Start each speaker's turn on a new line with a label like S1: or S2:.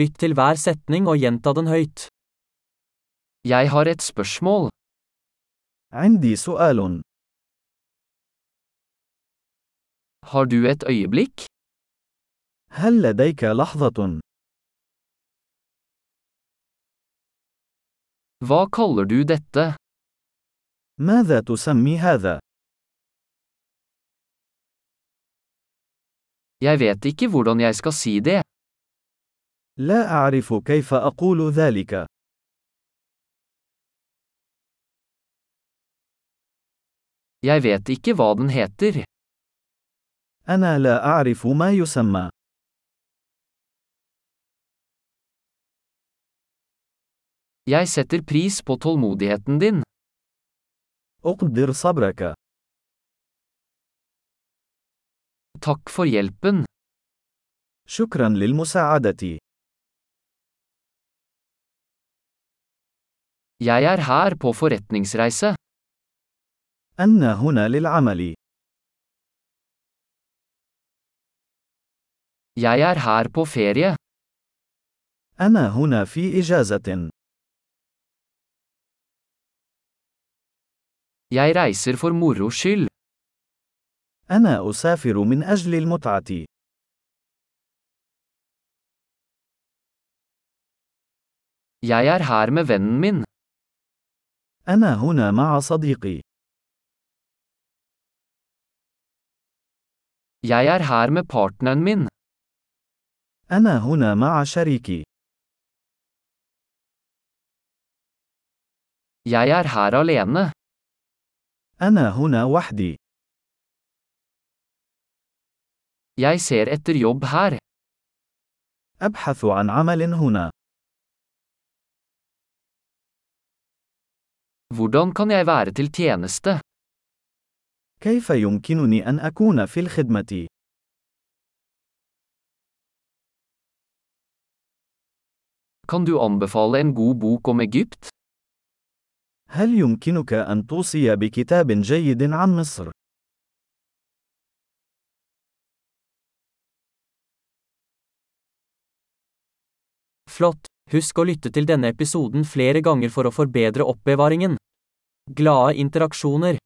S1: Lytt til hver setning og gjenta den høyt. Jeg har et spørsmål.
S2: عندي سؤال
S1: Har du et øyeblikk?
S2: هل لديك لحظة
S1: Hva kaller du dette?
S2: ماذا تسمي هذا
S1: Jeg vet ikke hvordan jeg skal si det.
S2: لا أعرف كيف أقول ذلك
S1: Jeg vet ikke hva den heter.
S2: أنا لا أعرف ما يسمى
S1: Jeg setter pris på tålmodigheten din.
S2: أقدر صبرك
S1: Takk for hjelpen.
S2: شكرا للمساعدة
S1: Jeg er her på forretningsreise.
S2: أنا هنا للعمل
S1: Jeg er her på ferie.
S2: أنا هنا في إجازة
S1: Jeg reiser for moro skyld.
S2: أنا أسافر من أجل المتعة
S1: Jeg er her med vennen min.
S2: أنا هنا مع صديقي
S1: Jeg er her med partneren min.
S2: أنا هنا مع شريكي
S1: Jeg er her alene.
S2: أنا هنا وحدي
S1: Jeg ser etter jobb her.
S2: أبحث عن عمل هنا
S1: Hvordan kan jeg være til tjeneste?
S2: كيف يمكنني أن أكون في الخدمة
S1: Kan du anbefale en god bok om Egypt?
S2: هل يمكنك أن توصي بكتاب جيد عن مصر؟
S1: Flott! Husk å lytte til denne episoden flere ganger for å forbedre oppbevaringen. Glade interaksjoner!